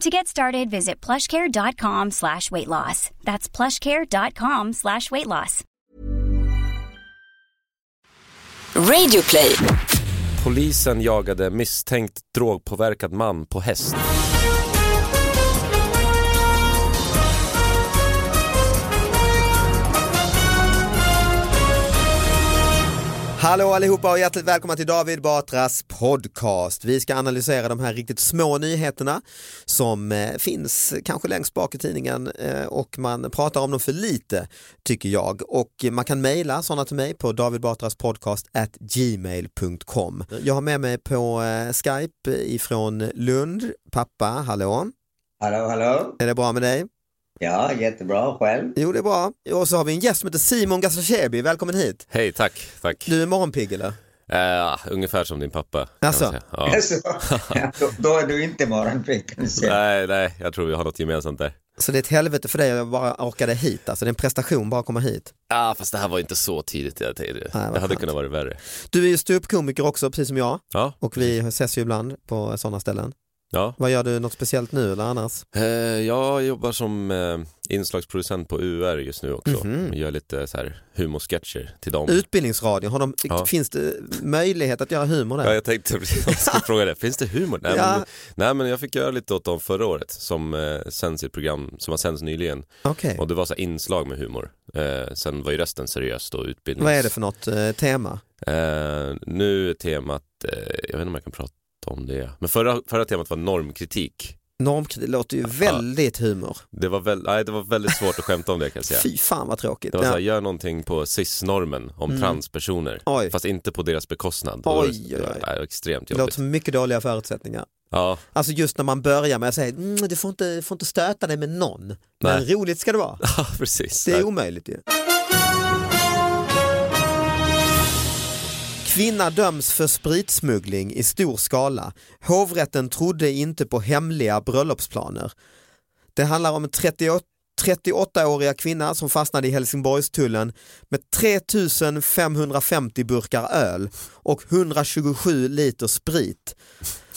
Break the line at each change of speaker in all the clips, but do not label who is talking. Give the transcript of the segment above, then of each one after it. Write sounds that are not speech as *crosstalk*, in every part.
To get started, visit plushcare.com slash weight loss. That's plushcare.com slash weight loss.
Radioplay.
Polisen jagade misstänkt drogpåverkad man på häst.
Hallå allihopa och hjärtligt välkomna till David Batras podcast. Vi ska analysera de här riktigt små nyheterna som eh, finns kanske längst bak i tidningen eh, och man pratar om dem för lite tycker jag. Och eh, man kan mejla sådana till mig på davidbatraspodcast@gmail.com. Jag har med mig på eh, Skype ifrån Lund, pappa, hallå.
Hallå, hallå.
Är det bra med dig?
Ja, jättebra. Själv? *laughs*
Jo det är bra. Och så har vi en gäst som heter Simon Gazdachebi, välkommen hit.
Hej, tack, tack.
Du är morgonpigg eller?
Eh, ungefär som din pappa. kan
Alltså?
man säga. Ja. *laughs*
Så, ja, då, då är du inte morgonpigg kan jag säga.
Nej, nej, jag tror vi har något gemensamt där.
Så det är ett helvete för dig att jag bara orkade hit, alltså det är en prestation bara att komma hit.
Ja, fast det här var inte så tidigt i det.
vad
Det hade
skönt.
kunnat vara värre.
Du är ju ståuppkomiker också, precis som jag,
Ja,
och vi ses ju ibland på sådana ställen.
ja.
Vad gör du, något speciellt nu eller annars?
Eh, jag jobbar som eh, inslagsproducent på UR just nu också.
Mhm.
Gör lite så här humorsketcher till dem.
Utbildningsradio, har de,
Ja.
finns det möjlighet att göra humor
Ja,
där?
jag tänkte *laughs* precis jag skulle fråga det. Finns det humor? Nej,
Ja.
men, nej, men jag fick göra lite åt dem förra året som eh, sänds i ett program som har sänds nyligen.
Okej,
Och det var så här inslag med humor. Eh, sen var ju resten seriöst och utbildnings...
vad är det för något eh, tema?
Eh, nu är temat, eh, jag vet inte om jag kan prata om det. Men förra, förra temat var normkritik.
Normkritik låter ju väldigt humor.
Det var, väl, nej, det var väldigt svårt att skämta om det kan jag säga.
*laughs* Fy fan vad tråkigt.
Det var så här,
Ja. Mm.
gör någonting på cis-normen om transpersoner.
Oj.
Fast inte på deras bekostnad. Då var
Oj,
det-
oj, oj.
Det var extremt
Det låter
jobbigt.
som mycket dåliga förutsättningar.
Ja, *laughs*
Alltså just när man börjar med att säga, mm, du får inte, får inte stöta dig med någon, men
Nej.
roligt ska det vara.
precis.
Det är
Nej.
omöjligt ju. Kvinna döms för spritsmuggling i stor skala. Hovrätten trodde inte på hemliga bröllopsplaner. Det handlar om en 38 38-åriga kvinna som fastnade i Helsingborgstullen med 3550 burkar öl och 127 liter sprit.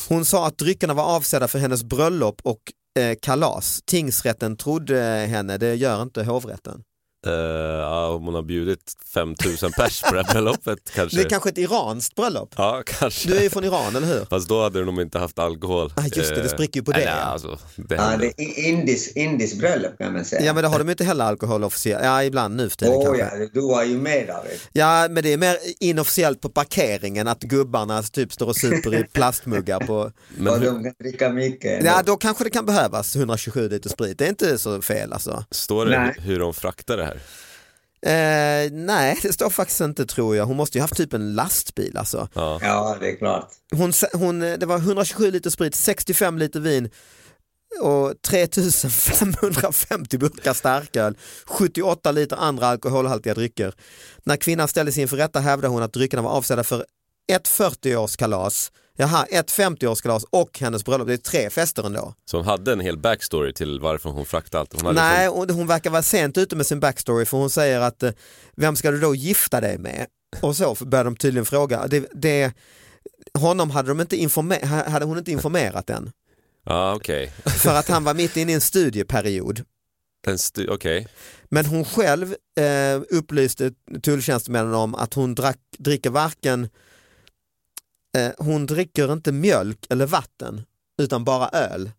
Hon sa att dryckerna var avsedda för hennes bröllop och eh, kalas. Tingsrätten trodde henne, det gör inte hovrätten.
Eh, ja, om hon har bjudit 5000 pers på det
*laughs*
här bröllopet kanske.
Det är kanske ett iranskt bröllop.
Ja, kanske.
Du är ju från Iran, eller hur?
Fast då hade de inte haft alkohol.
Ah, just det, det
Eh,
spricker ju på
nej,
det,
Nej,
ja.
alltså, det
Ja,
händer.
det är indiskt indis bröllop kan man säga.
Ja men det har de ju inte heller alkohol officiellt, ja ibland nu för tiden
Åh
kanske.
ja, du var ju med David.
Ja men det är mer inofficiellt på parkeringen att gubbarna typ står och super
*laughs*
i plastmuggar på,
Men
och
hur-
de kan dricka mycket.
ja då kanske det kan behövas 127 liter sprit, det är inte så fel alltså.
Står det
Nej.
hur de fraktar det här?
Eh, nej det står faktiskt inte tror jag, hon måste ju haft typ en lastbil alltså.
Ja.
Ja, det är klart.
Hon, sa- hon, eh, det var 127 liter sprit, 65 liter vin och 3550 burkar starköl, 78 liter andra alkoholhaltiga drycker. När kvinnan ställdes inför rätta hävdade hon att dryckerna var avsedda för ett 40-årskalas, jaha, ett 50-årskalas och hennes bröllop. Det är tre fester ändå.
Så hon hade en hel backstory till varför hon fraktade allt. Hon hade
Nej,
liksom-
och hon verkar vara sent ute med sin backstory för hon säger att eh, vem ska du då gifta dig med? Och så börjar de tydligen fråga. Det, det, honom hade, de inte informe- ha- hade hon inte informerat än.
Ja, okej.
För att han var mitt inne i en studieperiod.
En stu- Okej.
Men hon själv eh, upplyste tulltjänstemännen om att hon drack, dricker varken eh, hon dricker inte mjölk eller vatten utan bara öl.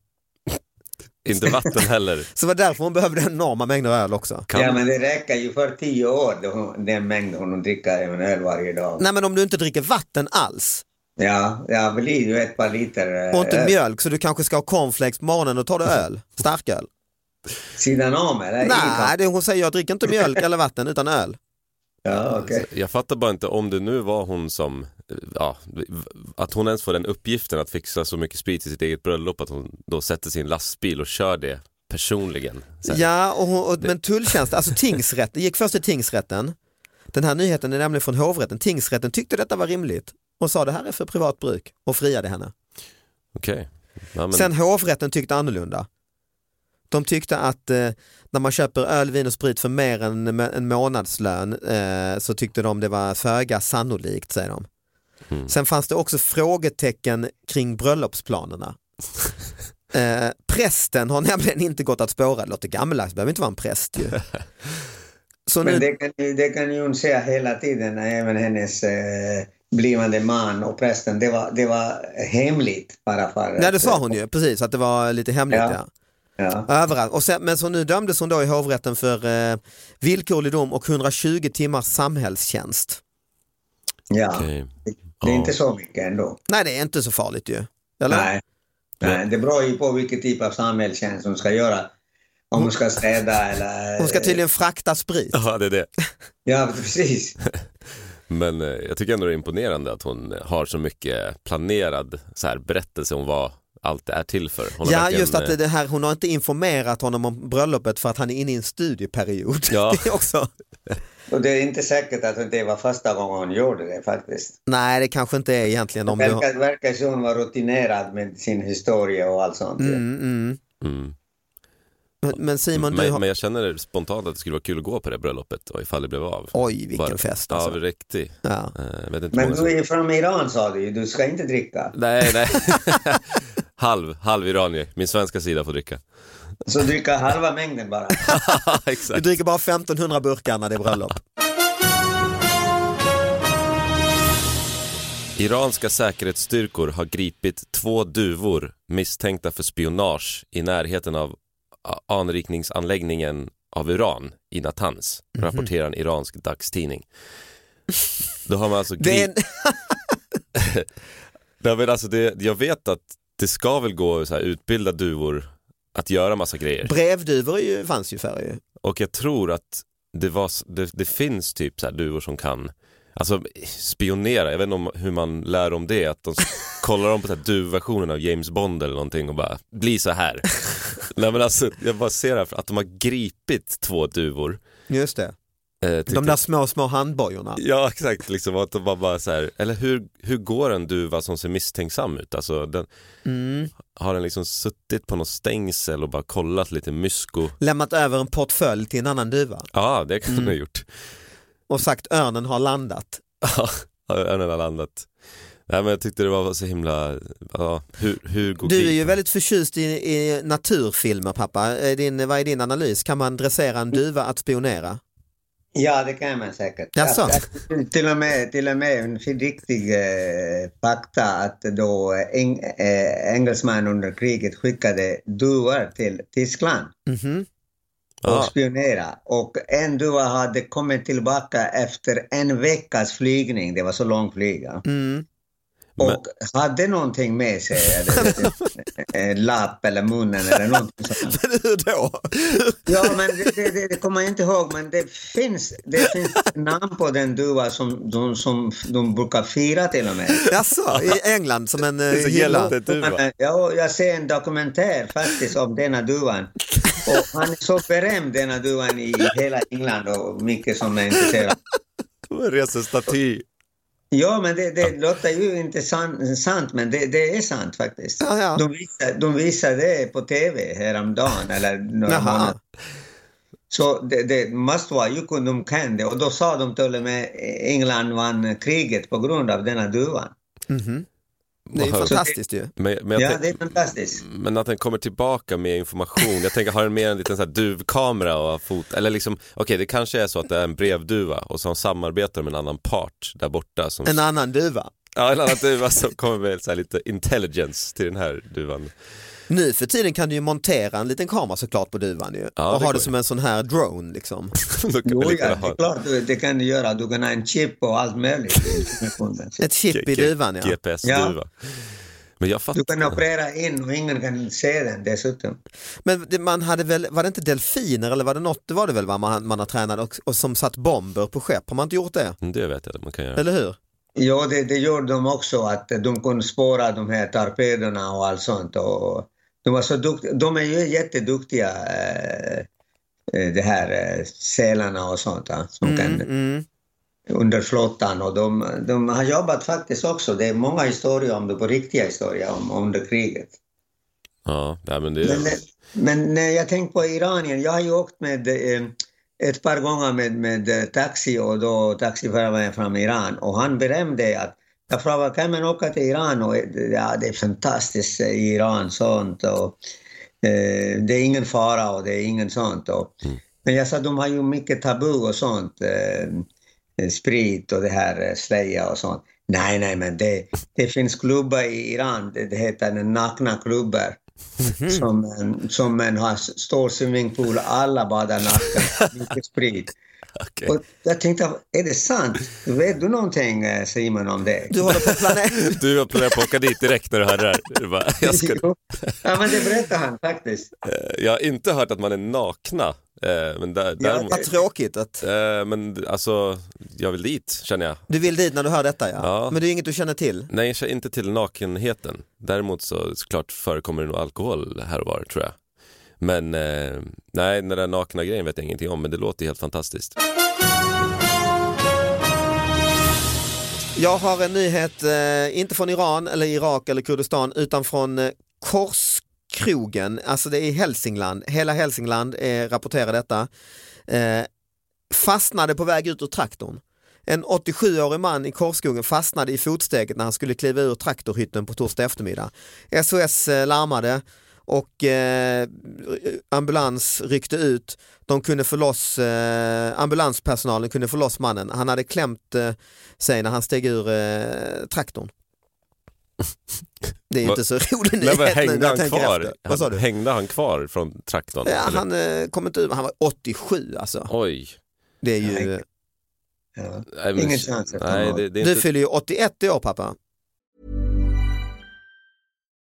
Inte vatten heller.
Så det var därför hon behövde enorma mängder öl också.
Kan...
Ja, men det räcker ju för tio år, då hon, den mängd hon dricker en öl varje dag.
Nej men om du inte dricker vatten alls
Ja, ja, det blir ju ett par liter eh,
och inte
öl.
mjölk så du kanske ska ha cornflakes på morgonen och tar du öl, starköl.
sidan om eller? I
Nej,
kaffe?
det hon säger jag dricker inte mjölk eller vatten utan öl.
Ja, okej.
Jag fattar bara inte om det nu var hon som, eh, ja, att hon ens får den uppgiften att fixa så mycket sprit till sitt eget bröllop att hon då sätter sin lastbil och kör det personligen. Så här.
Ja, och, hon- och, men
*laughs*
tulltjänsten, alltså tingsrätten, det gick först till tingsrätten. Den här nyheten är nämligen från hovrätten. Tingsrätten tyckte detta var rimligt och sa det här är för privat bruk och friade henne.
Okej. Ja, men,
Sen hovrätten tyckte annorlunda. De tyckte att eh, när man köper öl, vin och sprit för mer än en månadslön eh, så tyckte de det var föga sannolikt, säger de.
Mm.
Sen fanns det också frågetecken
*laughs*
kring bröllopsplanerna. eh, prästen har nämligen inte gått att spåra, det låter gammaldags, det behöver inte vara en
*laughs*
präst ju. Så nu,
Men det kan, ju, det kan ju hon säga hela tiden, även hennes eh, blivande man och prästen. Det var, det var hemligt bara för...
nej, det sa hon ju, precis, att det var lite hemligt.
Ja.
Ja.
Ja.
Överallt. Och sen, men så nu dömdes hon då i hovrätten för eh, villkorlig dom och 120 timmars samhällstjänst.
ja.
okej.
Det är
Ja.
inte så mycket ändå.
Nej det är inte så farligt ju. Eller?
Nej. Nej. Det beror ju på vilken typ av samhällstjänst hon ska göra. Om hon ska städa eller...
Mm. Hon ska tydligen frakta sprit.
Ja, det är det.
Ja, precis.
Men eh, jag tycker ändå det är imponerande att hon har så mycket planerad så här, berättelse om vad allt det är till för. Hon har
Ja
verkligen,
just att det-
eh,
det här, hon har inte informerat honom om bröllopet för att han är inne i en studieperiod.
Ja.
*laughs* Det är också.
Och det är inte säkert att det var första gången hon gjorde det faktiskt.
Nej det kanske inte är egentligen om du har...
Verkar, verkar som hon var rutinerad med sin historia och allt sånt. ju.
Mm, mm.
mm.
Men- Men Simon du
men,
har...
men jag känner spontant att det skulle vara kul att gå på det bröllopet och ifall det blev av.
Oj vilken
Bara-
fest
Ja,
alltså.
riktigt.
Ja.
Eh, jag vet inte
Men
många som-
du är från Iran sa du ju, du ska inte dricka.
Nej, nej. *laughs* halv, halv iranier. Min svenska sida får dricka. *laughs*
Så dricka halva
*laughs*
mängden bara.
Du
Exakt.
dricker bara 1500 burkar när det
*laughs*
är bröllop.
Iranska säkerhetsstyrkor har gripit två duvor misstänkta för spionage i närheten av a- anrikningsanläggningen av uran i Natanz,
Mhm.
rapporterar en iransk dagstidning. Då har man alltså
*laughs* Det är
gripit... Nej, men alltså det, jag vet att det ska väl gå att så här utbilda duvor att göra massa grejer.
Brevduvor är ju, fanns ju förr ju.
Och jag tror att det, var, s- det, det finns typ så här duvor som kan alltså, spionera. Jag vet inte om, hur man lär om det. Att de s- kollar om på så här duvversionen av James Bond eller någonting och bara bli så här. Nej, men alltså, jag bara ser här att de har gripit två duvor.
Just det.
Eh,
De där små, små handbojorna.
Ja exakt, liksom att de bara, bara så här, eller hur, hur går en duva som ser misstänksam ut? Alltså, den, Har den liksom suttit på något stängsel och bara kollat lite mysko?
Lämnat över en portfölj till en annan duva
Ja, det kan den ha gjort.
och sagt örnen har landat.
Ja, än hela landet. Nej men jag tyckte det var så himla, ja, hur, hur går
Du är ju
gripen?
väldigt förtjust i, i naturfilmer pappa. Är din, vad är din analys? Kan man dressera en duva
*laughs*
att spionera?
Ja, det kan man säkert.
Jaså?
Att- Till och med, till och med en riktig eh, fakta att då eng, eh, engelsmän under kriget skickade duvor till Tyskland
Mhm.
och
Ja,
spionera. Och en duva hade kommit tillbaka efter en veckas flygning, det var så lång flyga.
Mm.
Och hade någonting med sig,
*laughs*
eller, en lapp eller munnen eller någonting sånt.
Hur då?
Ja, men det, det, det, det kommer jag inte ihåg, men det finns, det finns namn på den duva som de, som de brukar fira till och med.
Jaså, i England som en eh,
det är så
hylla?
gällande duva.
eh, Ja, jag ser en dokumentär faktiskt om denna duvan. Och han är så berömd, denna duvan, i hela England och mycket som är intresserad.
En resestaty.
Ja, men det, det låter ju inte san, sant, men det, det är sant faktiskt.
Ja, ja.
De, visar, de visar det på tv häromdagen eller några månader
Jaha.
Så det, det måste vara ju kun de kan det. Och då sa de till och med England vann kriget på grund av denna duvan.
Det är ju
Wow.
fantastiskt ju.
Men, men, jag
Ja,
tänk-
det är fantastiskt.
men att den kommer tillbaka med information. Jag tänker, har den med en liten så här duvkamera och fot? Eller liksom, okej det kanske är så att det är en brevduva och så samarbetar de med en annan part där borta. Som,
En annan duva.
ja, en annan duva som kommer med så här lite intelligence till den här duvan.
Nu för tiden kan du ju montera en liten kamera såklart på duvan ju.
Ja,
och
det
ha
går
det
ju.
som en sån här drone liksom.
Då kan
Jo,
vi
ja, det
lika gärna
är klart du, det kan du göra. Du kan ha en chip och
*laughs*
allt möjligt. i telefonen.
Ett chip i
G-
duvan ja.
GPS-duva. Men jag
Du kan
fattar.
operera in och ingen kan se den dessutom.
Men det- man hade väl, var det inte delfiner eller var det något, det var det väl vad man, man har tränat och, och som satt bomber på skepp, har man inte gjort det?
Mm, Det vet jag att man kan göra.
Eller hur?
Ja, det, det gjorde de också, att de kunde spåra de här torpederna och allt sånt. Och de, var så duktiga. de är ju jätteduktiga, eh, eh, de här eh, sälarna och sånt, ja, som kan
Mm.
under flottan. Och de, de har jobbat faktiskt också. Det är många historier om det, på riktiga historier om, om det kriget.
Ja, nej, men det
Men,
är...
men när jag tänker på Iranien, jag har ju åkt med eh, ett par gånger med, med eh, taxi och då taxiföraren från Iran och han berömde att jag frågade kan man åka till Iran och eh, ja, det är fantastiskt eh, i Iran sånt och eh, det är ingen fara och det är ingen sånt. Och,
Mm.
Men jag sa de har ju mycket tabu och sånt. Eh, sprit och det här eh, slöja och sånt. Nej, nej, men det, det finns klubbar i Iran, det, det heter den nakna klubbar.
Mhm.
Som, en- som en har s- stor swimmingpool, alla badar nakna,
*laughs*
mycket sprit.
Okej.
Och jag tänkte, är det sant? Vet du någonting eh, Simon om det?
Du håller på
*laughs*
att planera,
Du planerar på att åka dit direkt när du hörde det här. Du bara,
*laughs*
*laughs*
jag, ska,
Jo. Ja, men det berättade han faktiskt.
eh, jag har inte hört att man är nakna. eh, Men, där, däremot,
vad tråkigt att
eh, men alltså, jag vill dit känner jag.
du vill dit när du hör detta ja.
Ja.
Men det är inget du känner till.
Nej, jag känner inte till nakenheten. Däremot så såklart förekommer det nog alkohol här och var tror jag. Men eh, nej, den där nakna grejen vet jag ingenting om, men det låter ju helt
*laughs*
fantastiskt.
Jag har en nyhet, eh, inte från Iran eller Irak eller Kurdistan utan från eh, Korskrogen, alltså det är i Hälsingland. Hela Hälsingland eh, rapporterar detta. Eh, fastnade på väg ut ur traktorn. En 87-årig man i Korskogen fastnade i fotsteget när han skulle kliva ur traktorhytten på torsdag eftermiddag. SOS eh, larmade och eh, ambulans ryckte ut. De kunde få loss, eh, ambulanspersonalen kunde få loss mannen. Han hade klämt eh, sig när han steg ur eh, traktorn. Det är ju
Va-
inte så rolig
Nej,
nyhet
men
nu när
hängde
jag
han
tänker
kvar?
efter. Vad sa
Han,
du?
hängde han kvar från traktorn?
Ja,
eller?
han eh, kom inte ur, men han var 87 alltså.
Oj.
Det är ju...
Nej. Ja.
Nej, men-
Ingen chans att
nej,
han-
det, det är
Du
inte...
fyller ju 81 i år pappa.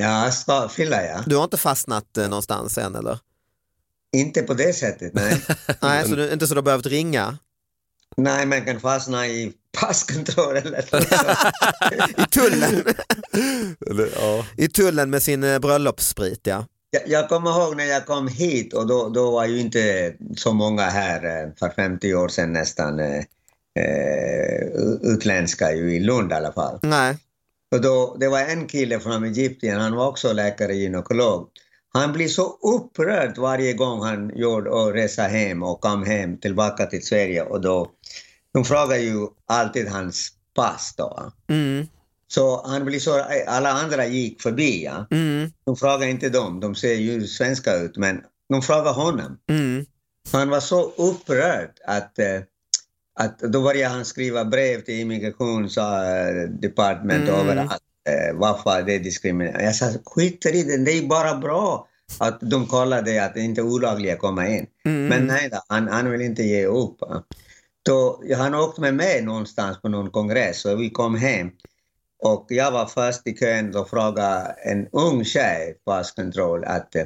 Ja, sparfylla ja.
Du har inte fastnat eh, någonstans än eller?
Inte på det
*laughs*
sättet, nej.
Nej, så du, inte så du har behövt ringa
nej, man kan fastna i passkontroll eller något sånt.
i tullen,
Eller, ja.
I tullen med sin eh, bröllopssprit ja.
Jag, jag kommer ihåg när jag kom hit och då, då var ju inte så många här eh, för 50 år sedan nästan eh, eh, u- utländska ju i Lund i alla fall.
Nej,
Och då, det var en kille från Egypten, han var också läkare gynekolog. Han blev så upprörd varje gång han gjorde och resa hem och kom hem tillbaka till Sverige och då de frågar ju alltid hans pass då. va.
mm.
Så han blir så, eh, alla andra gick förbi. Ja.
Mm.
De frågar inte dem, de ser ju svenska ut, men de frågar honom.
Mm.
Han var så upprörd att eh, att då började han skriva brev till eh, immigrationsdepartementet
Mm.
överallt. Eh, varför det är diskriminering? Jag sa, skiter i det, det är bara bra att de kollar det, att det inte är olagliga kommer in.
Mm.
Men nej då, han, han vill inte ge upp. Då, han åkte med mig någonstans på någon kongress och vi kom hem. Och jag var först i kön och frågade en ung tjej, passkontroll, att eh,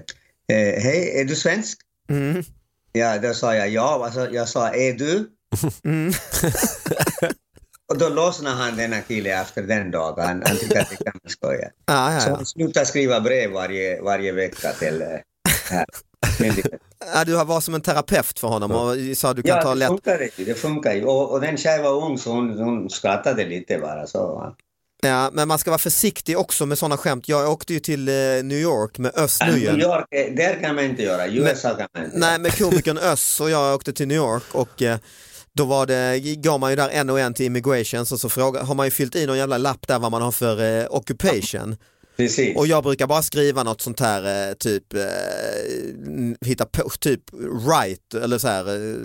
hej, är du svensk?
Mm.
Ja, då sa jag ja. Alltså, jag sa, är du?
Mm.
*laughs* och då lossnade han denna kille efter den dagen. Han, han tyckte att det kan man skoja.
Ah, ja,
Så
ja.
han slutade skriva brev varje, varje vecka till eh, här.
*laughs*
myndigheten.
Ja, Ah, du var som en terapeut för honom och sa du kan
ja,
ta
det
lätt.
funkar ju. Det funkar ju. Och, och den tjejen var ung så hon, hon skrattade lite bara. Så.
Ja, men man ska vara försiktig också med sådana skämt. Jag åkte ju till eh, New York med Öss
Men New
nyligen.
York, eh, där kan man inte göra. USA kan man inte.
Nej, med komikern Öss och jag åkte till New York och eh, då var det, går man ju där en och en till immigrations och så frågar, har man ju fyllt i någon jävla lapp där vad man har för eh, occupation.
Precis.
Och jag brukar bara skriva något sånt här eh, typ, eh, hitta på, typ right eller så här, eh,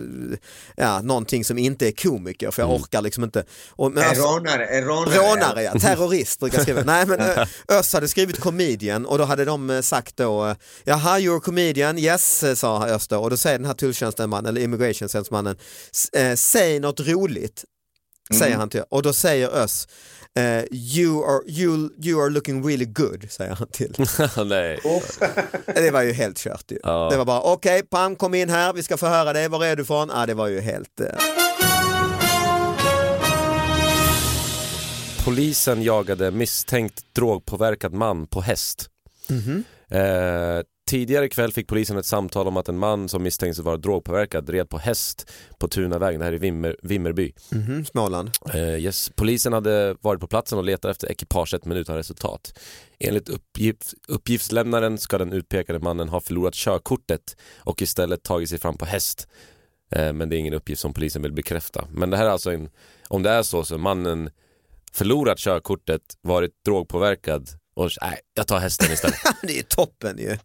ja, någonting som inte är komiker för jag
Mm.
orkar liksom inte. Och, men
En
alltså-
rånare, en rånare.
Rånare *laughs* ja, terrorist brukar jag skriva. Nej men *laughs* Ö- Öss hade skrivit comedian och då hade de eh, sagt då eh, Jaha, you're a comedian, yes eh, sa Öss då och då säger den här tulltjänstemannen eller immigration tjänstemannen Säg något roligt, säger han till och då säger Öss eh, you, are, you, you are looking really good, säger han till. *laughs*
Nej.
det var ju helt kört ju.
Ja.
Det var bara okej, Pam kom in här, vi ska få höra dig, var är du ifrån? Ja, det var ju helt... Eh...
Polisen jagade misstänkt drogpåverkad man på häst. Eh, tidigare ikväll fick polisen ett samtal om att en man som misstänks vara drogpåverkad red på häst på Tunavägen, det här i Vimmer, Vimmerby.
Mhm, Småland.
Eh, yes. Polisen hade varit på platsen och letat efter ekipaget men utan resultat. Enligt uppgift, uppgiftslämnaren ska den utpekade mannen ha förlorat körkortet och istället tagit sig fram på häst. Eh, men det är ingen uppgift som polisen vill bekräfta. Men det här är alltså en, om det är så så har mannen förlorat körkortet, varit drogpåverkad och nej, jag tar hästen istället.
*laughs* det är ju toppen ju.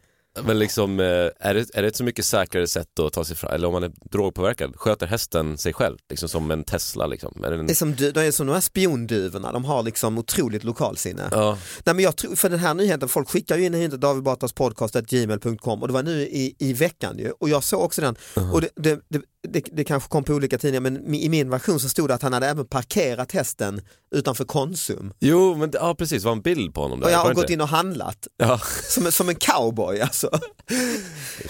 Men liksom, eh, är det, är det ett så mycket säkrare sätt att ta sig fram, eller om man är drogpåverkad, sköter hästen sig själv, liksom som en Tesla liksom? Är det en...
Det är som, du- de är som de här spionduvorna, de har liksom otroligt lokalsinne.
Ja.
Nej, men jag tror, för den här nyheten, folk skickar ju in en nyhet davidbatraspodcast.gmail.com och det var nu i, i veckan ju och jag såg också den
Uh-huh.
och det, det, det, det, det kanske kom på olika tidningar men mi- i min version så stod det att han hade även parkerat hästen utanför Konsum
Jo, men det- ja precis, det var en bild på honom där.
och jag
var
har
det
gått
inte?
in och handlat
Ja,
som, en- som en cowboy alltså.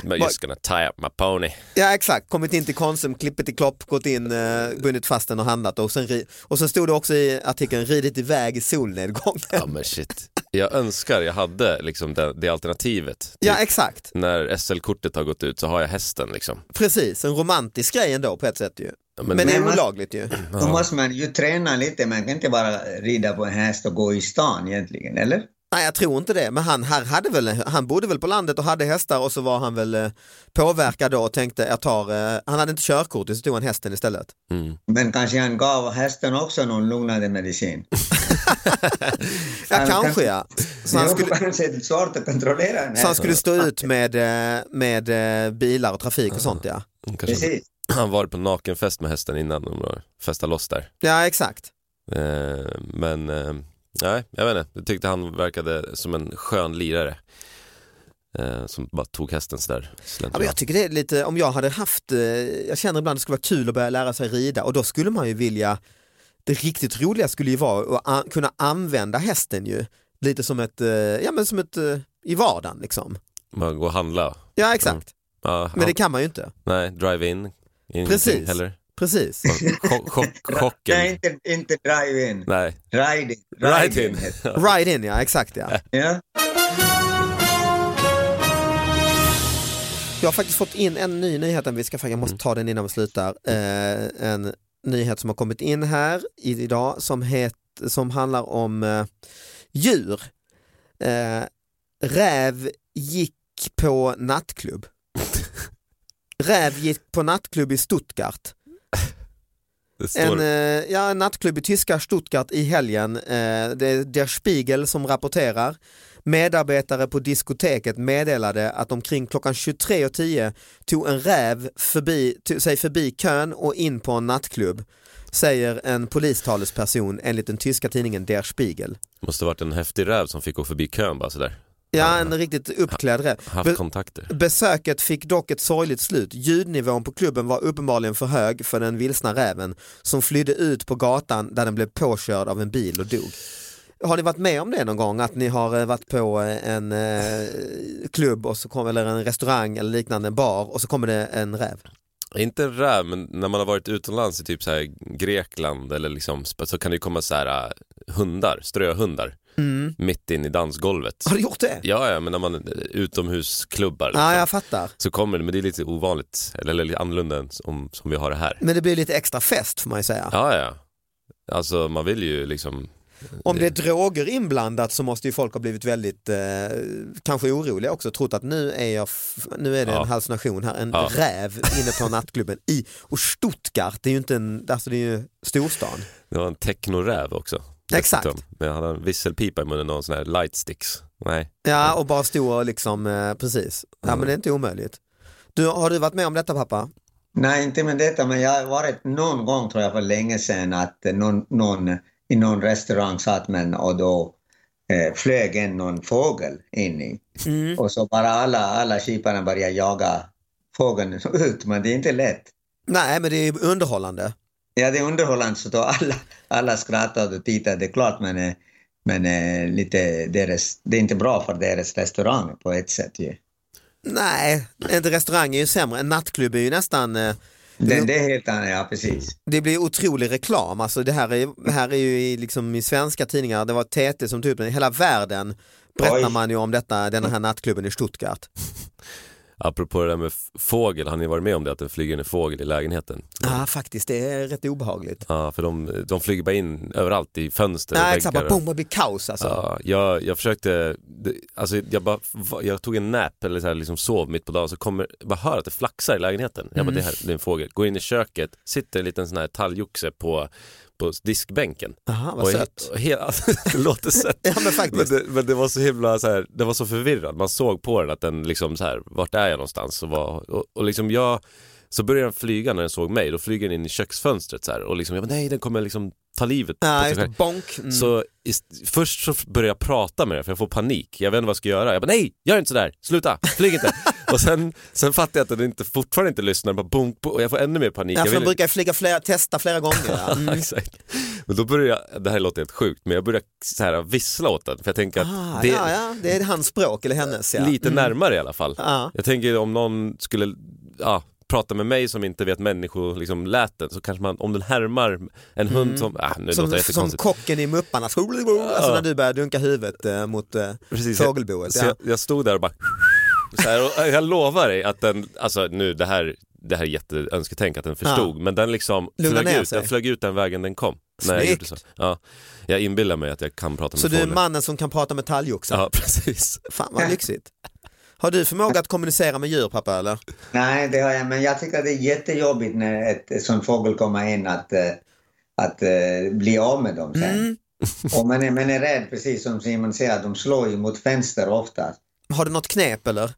I'm just gonna tie up my pony.
Ja exakt, kommit in till Konsum, klippit i klopp, gått in, eh, bundit fast den och handlat och sen, ri- och sen stod det också i artikeln ridit iväg i solnedgången.
Ja
*laughs*
men shit. Jag önskar jag hade liksom det, det alternativet.
Ja
Typ,
exakt.
När SL-kortet har gått ut så har jag hästen
Mm,
liksom.
Precis, en romantisk grej ändå på ett sätt ju.
men-
men, det är
Men-
olagligt *clears throat* ju.
Då måste man ju träna lite, man kan inte bara rida på en häst och gå i stan egentligen, eller?
Nej jag tror inte det, men han, här hade väl, han bodde väl på landet och hade hästar och så var han väl eh, påverkad då och tänkte jag tar, eh, han hade inte körkort så tog han hästen istället.
Mm.
Men kanske han gav hästen också någon lugnande medicin.
Ja
Han
kanske
kanske-
ja. *clears throat* Så
Så
han
skulle...
skulle,
kanske är svårt att kontrollera en
så han
häst.
skulle stå ut med, eh, med eh, bilar och trafik och sånt ja.
Kanske
Precis.
*clears throat* han var på nakenfest med hästen innan de festade loss där.
Ja exakt.
Eh, men eh, nej, jag vet inte. Jag tyckte han verkade som en skön lirare. Eh, som bara tog hästen sådär.
Ja, men jag tycker det är lite, om jag hade haft, eh, jag känner ibland det skulle vara kul att börja lära sig rida och då skulle man ju vilja, det riktigt roliga skulle ju vara att an- kunna använda hästen ju, lite som ett, eh, ja men som ett, eh, i vardagen liksom.
Man går och handla.
Ja exakt,
Mm. Ja,
men det
han-
kan man ju inte.
Nej, drive-in. Ingenting
Precis.
Heller. *laughs*
Precis.
Chock, chock, chocken.
Nej, inte, inte drive-in.
Nej.
Ride-in.
Ride-in. *laughs*
heter det.
Ride in ja, exakt ja.
Ja.
Jag har faktiskt fått in en ny nyhet, vi ska, fan, jag måste ta den innan vi slutar. Eh, en nyhet som har kommit in här i- idag som, het, som handlar om eh, djur. Eh, räv gick på nattklubb. *laughs* räv gick på nattklubb i Stuttgart. En, eh, ja, en nattklubb i tyska Stuttgart i helgen. Eh, Det är Der Spiegel som rapporterar. Medarbetare på diskoteket meddelade att omkring klockan 23.10 tog en räv förbi, tog sig förbi kön och in på en nattklubb, säger en polistalesperson enligt den tyska tidningen Der Spiegel.
Måste varit en häftig räv som fick gå förbi kön bara sådär.
Ja, en riktigt uppklädd räv.
Haft
Be-
kontakter.
Besöket fick dock ett sorgligt slut. Ljudnivån på klubben var uppenbarligen för hög för den vilsna räven som flydde ut på gatan där den blev påkörd av en bil och dog. Har ni varit med om det någon gång? Att ni har eh, varit på eh, en eh, klubb och så kom, eller en restaurang eller liknande, en bar och så kommer det en räv?
Inte en räv, men när man har varit utomlands i typ så här Grekland eller liksom sp- så kan det ju komma så här äh, hundar, ströhundar
Mm.
mitt in i dansgolvet.
Har du gjort det?
Ja, ja, men när man eh, utomhusklubbar
Ja,
liksom,
jag fattar.
så kommer det, men det är lite ovanligt, eller, eller lite annorlunda än som, som vi har det här.
Men det blir lite extra fest får man ju säga.
Ja, ja. Alltså man vill ju liksom,
Om det är droger inblandat så måste ju folk ha blivit väldigt eh, kanske oroliga också, trott att nu är, jag f- nu är det
Ja.
en hallucination här, en
Ja.
räv inne på nattklubben i och Stuttgart, det är ju inte en, alltså det är ju storstan.
det var en technoräv också.
Exakt.
dessutom. Men han hade en visselpipa i munnen och en sån här lightsticks. Nej.
Ja och bara stå och liksom, eh, precis, ja men det är inte omöjligt. Du, har du varit med om detta pappa?
Nej, inte med detta, men jag har varit någon gång, tror jag, för länge sedan att någon, någon i någon restaurang satt man och då eh, flög en någon fågel in i.
Mm.
Och så bara alla, alla kiparna började jaga fågeln ut, men det är inte lätt.
Nej men det är underhållande.
Ja, det är underhållande, så då alla, alla skrattade och tittade, det är klart, men, eh, men eh, lite deras, det är inte bra för deras restaurang på ett sätt ju.
Nej, en restaurang är ju sämre, en nattklubb är ju nästan eh,
Det, det är helt annat, ja precis.
Det blir otrolig reklam, alltså det här är, det här är ju i, liksom, i svenska tidningar, det var TT som tog upp den, i hela världen berättar
Oj.
man ju om detta, den här nattklubben i Stuttgart.
Apropå det där med f- fågel, har ni varit med om det att det flyger in en fågel i lägenheten?
Ja ah, faktiskt, det är rätt obehagligt.
Ja, för de, de flyger bara in överallt i fönster och
Nej
väggar
exakt, bara
och-
boom, det blir kaos alltså.
Ja, jag, jag försökte, det- alltså jag, bara, va- jag tog en nap eller så här, liksom sov mitt på dagen så kommer, bara hör att det flaxar i lägenheten. Jag
Mm.
bara, det här det är en fågel. Går in i köket, sitter en liten sån här talgoxe på, på diskbänken.
Aha, vad
Och jag-
sött.
och hela- *laughs* det låter sött.
*laughs* Ja, men faktiskt.
Men det, men det var så himla så här, det var så förvirrad. Man såg på den att den liksom så här, vart är jag någonstans? Och, var, och, och liksom jag, så började den flyga när den såg mig. Då flyger den in i köksfönstret så här och liksom, jag bara, nej den kommer liksom ta livet på
Nej,
sig
just
själv.
det, bonk. Mm.
Så ist- först så f- börjar jag prata med det för jag får panik. Jag vet inte vad jag ska göra. Jag bara nej, gör inte sådär, sluta, flyg
*laughs*
inte. och sen, sen fattar jag att den inte, fortfarande inte lyssnar, bara bonk, bonk, och jag får ännu mer panik.
ja,
jag
för de
vill-
brukar ju flyga flera, testa flera gånger. ja.
*laughs* Ja,
Mm.
Exakt. Men då börjar jag, det här låter helt sjukt, men jag börjar så här vissla åt den för jag tänker att
Ah,
det är
ja, ja, det är hans språk eller hennes. Ja.
lite närmare i alla fall.
Mm. Ja.
Jag tänker om någon skulle ja, prata med mig som inte vet människoläten liksom, läten, så kanske man, om den härmar en hund som, ah, nu låter
Mm. Som,
det
som
jättekonstigt.
kocken i Mupparna, alltså när du börjar dunka huvudet eh, mot eh,
Precis,
fågelboet.
Så
Ja.
jag, jag stod där och bara *laughs* så här, och jag lovar dig att den, alltså nu det här, det här är jätteönsketänk att den förstod, men den liksom
Lugna
flög
ner
ut,
sig.
den flög ut den vägen den kom. När jag, gjorde
Snyggt.
så. Ja, jag inbillar mig att jag kan prata med
Så du är
fåglar.
mannen som kan prata med talgoxen.
Ja, *laughs* precis.
Fan vad lyxigt. Har du förmåga att kommunicera med djur pappa eller?
Nej, det har jag, men jag tycker det är jättejobbigt när ett, ett sån fågel kommer in att, eh, att eh, bli av med dem sen. Och man är, man är rädd, precis som Simon säger, att de slår ju mot fönster ofta.
Har du något knep eller?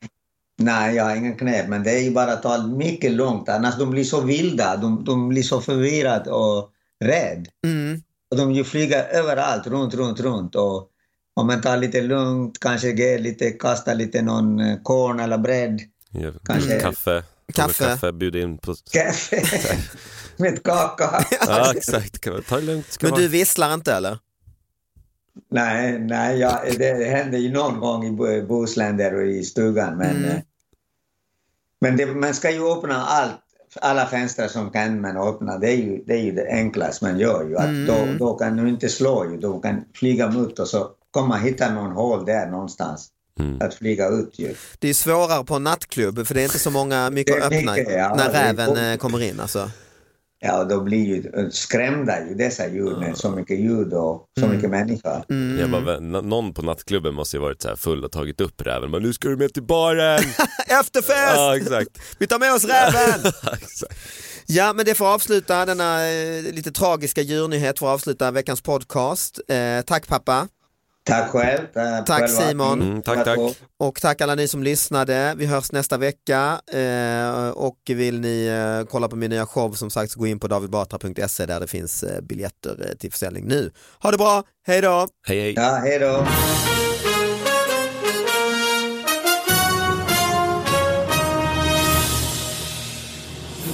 Nej, jag har ingen knep, men det är ju bara att ta mycket långt, annars de blir så vilda, de, de blir så förvirrade och rädd.
Mm.
Och de ju flyger överallt, runt, runt, runt. Och om man tar lite lugnt, kanske ger lite, kastar lite någon eh, korn eller bröd,
Ja,
Kanske-
Kaffe.
Kaffe.
kaffe, bjud in på...
kaffe *laughs* med kaka.
*laughs*
Ja, exakt. Kan man- Ta det lugnt. Ska
Men
vara-
du visslar inte eller?
Nej, nej ja, det hände ju någon gång i Bo- Bohuslän där och i stugan. Men, eh, men det, man ska ju öppna allt, alla fönster som kan man öppna. Det är ju det, är ju det enklaste man gör. Ju, att då, då kan du inte slå, ju, då kan flyga mot och så kommer man hitta någon hål där någonstans att flyga ut. Ju.
Det är svårare på en nattklubb för det är inte så många mycket
Det
att
är
öppna
mycket, ja.
när
Det är
räven
gott.
eh, kommer
*laughs*
in alltså.
Ja, och då blir ju eh, skrämda ju dessa djur med så mycket ljud och så
Mm.
mycket människor.
Jag bara, vä- nå- någon på nattklubben måste ju varit så här full och tagit upp räven. Men nu ska du med till baren!
Efterfest!
ja, exakt. *laughs*
Vi tar med oss räven!
Ja, exakt.
*laughs* Ja, men det får avsluta denna eh, lite tragiska djurnyhet, får avsluta veckans podcast. Eh, tack pappa.
Tack själv. Tack,
Tack
själva.
Simon.
Mm, tack, tack.
Och tack alla ni som lyssnade. Vi hörs nästa vecka. Eh, och vill ni eh, kolla på min nya show som sagt så gå in på davidbatra.se där det finns eh, biljetter eh, till försäljning nu. Ha det bra, hej då!
Hej, hej.
Ja, hej då.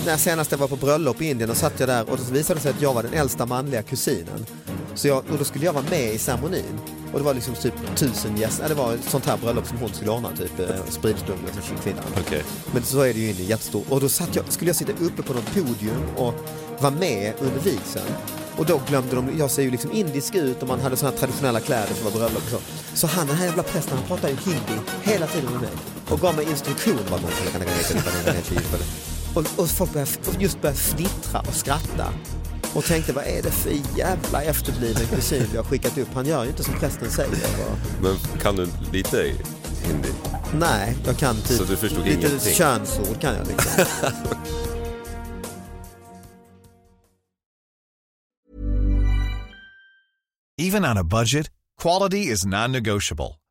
När senast jag var på bröllop i Indien och satt jag där och så visade det sig att jag var den äldsta manliga kusinen. Så jag, och då skulle jag vara med i ceremonin. Och det var liksom typ tusen gäster, Ja, det var ett sånt här bröllop som hon skulle ordna, typ eh, spritstund och kvinnan.
Okej.
Men så är det ju Indien jättestort. Och då satt jag, skulle jag sitta uppe på något podium och vara med under vigseln. Och då glömde de, jag ser ju liksom indisk ut och man hade såna här traditionella kläder för att vara bröllop och så. Så han den här jävla prästen han pratade ju hindi hela tiden med mig. Och gav mig instruktioner. vad man skulle kunna göra, vad man skulle kunna göra. Och, och folk började, och just började fnittra och skratta. Och tänkte vad är det för jävla efterbliven kusin vi har skickat upp? Han gör ju inte som prästen säger. Och,
Men kan du lite hindi?
nej, jag kan typ
Så du förstod
lite
ingenting?
könsord kan jag liksom.
Even on a budget, quality is non-negotiable.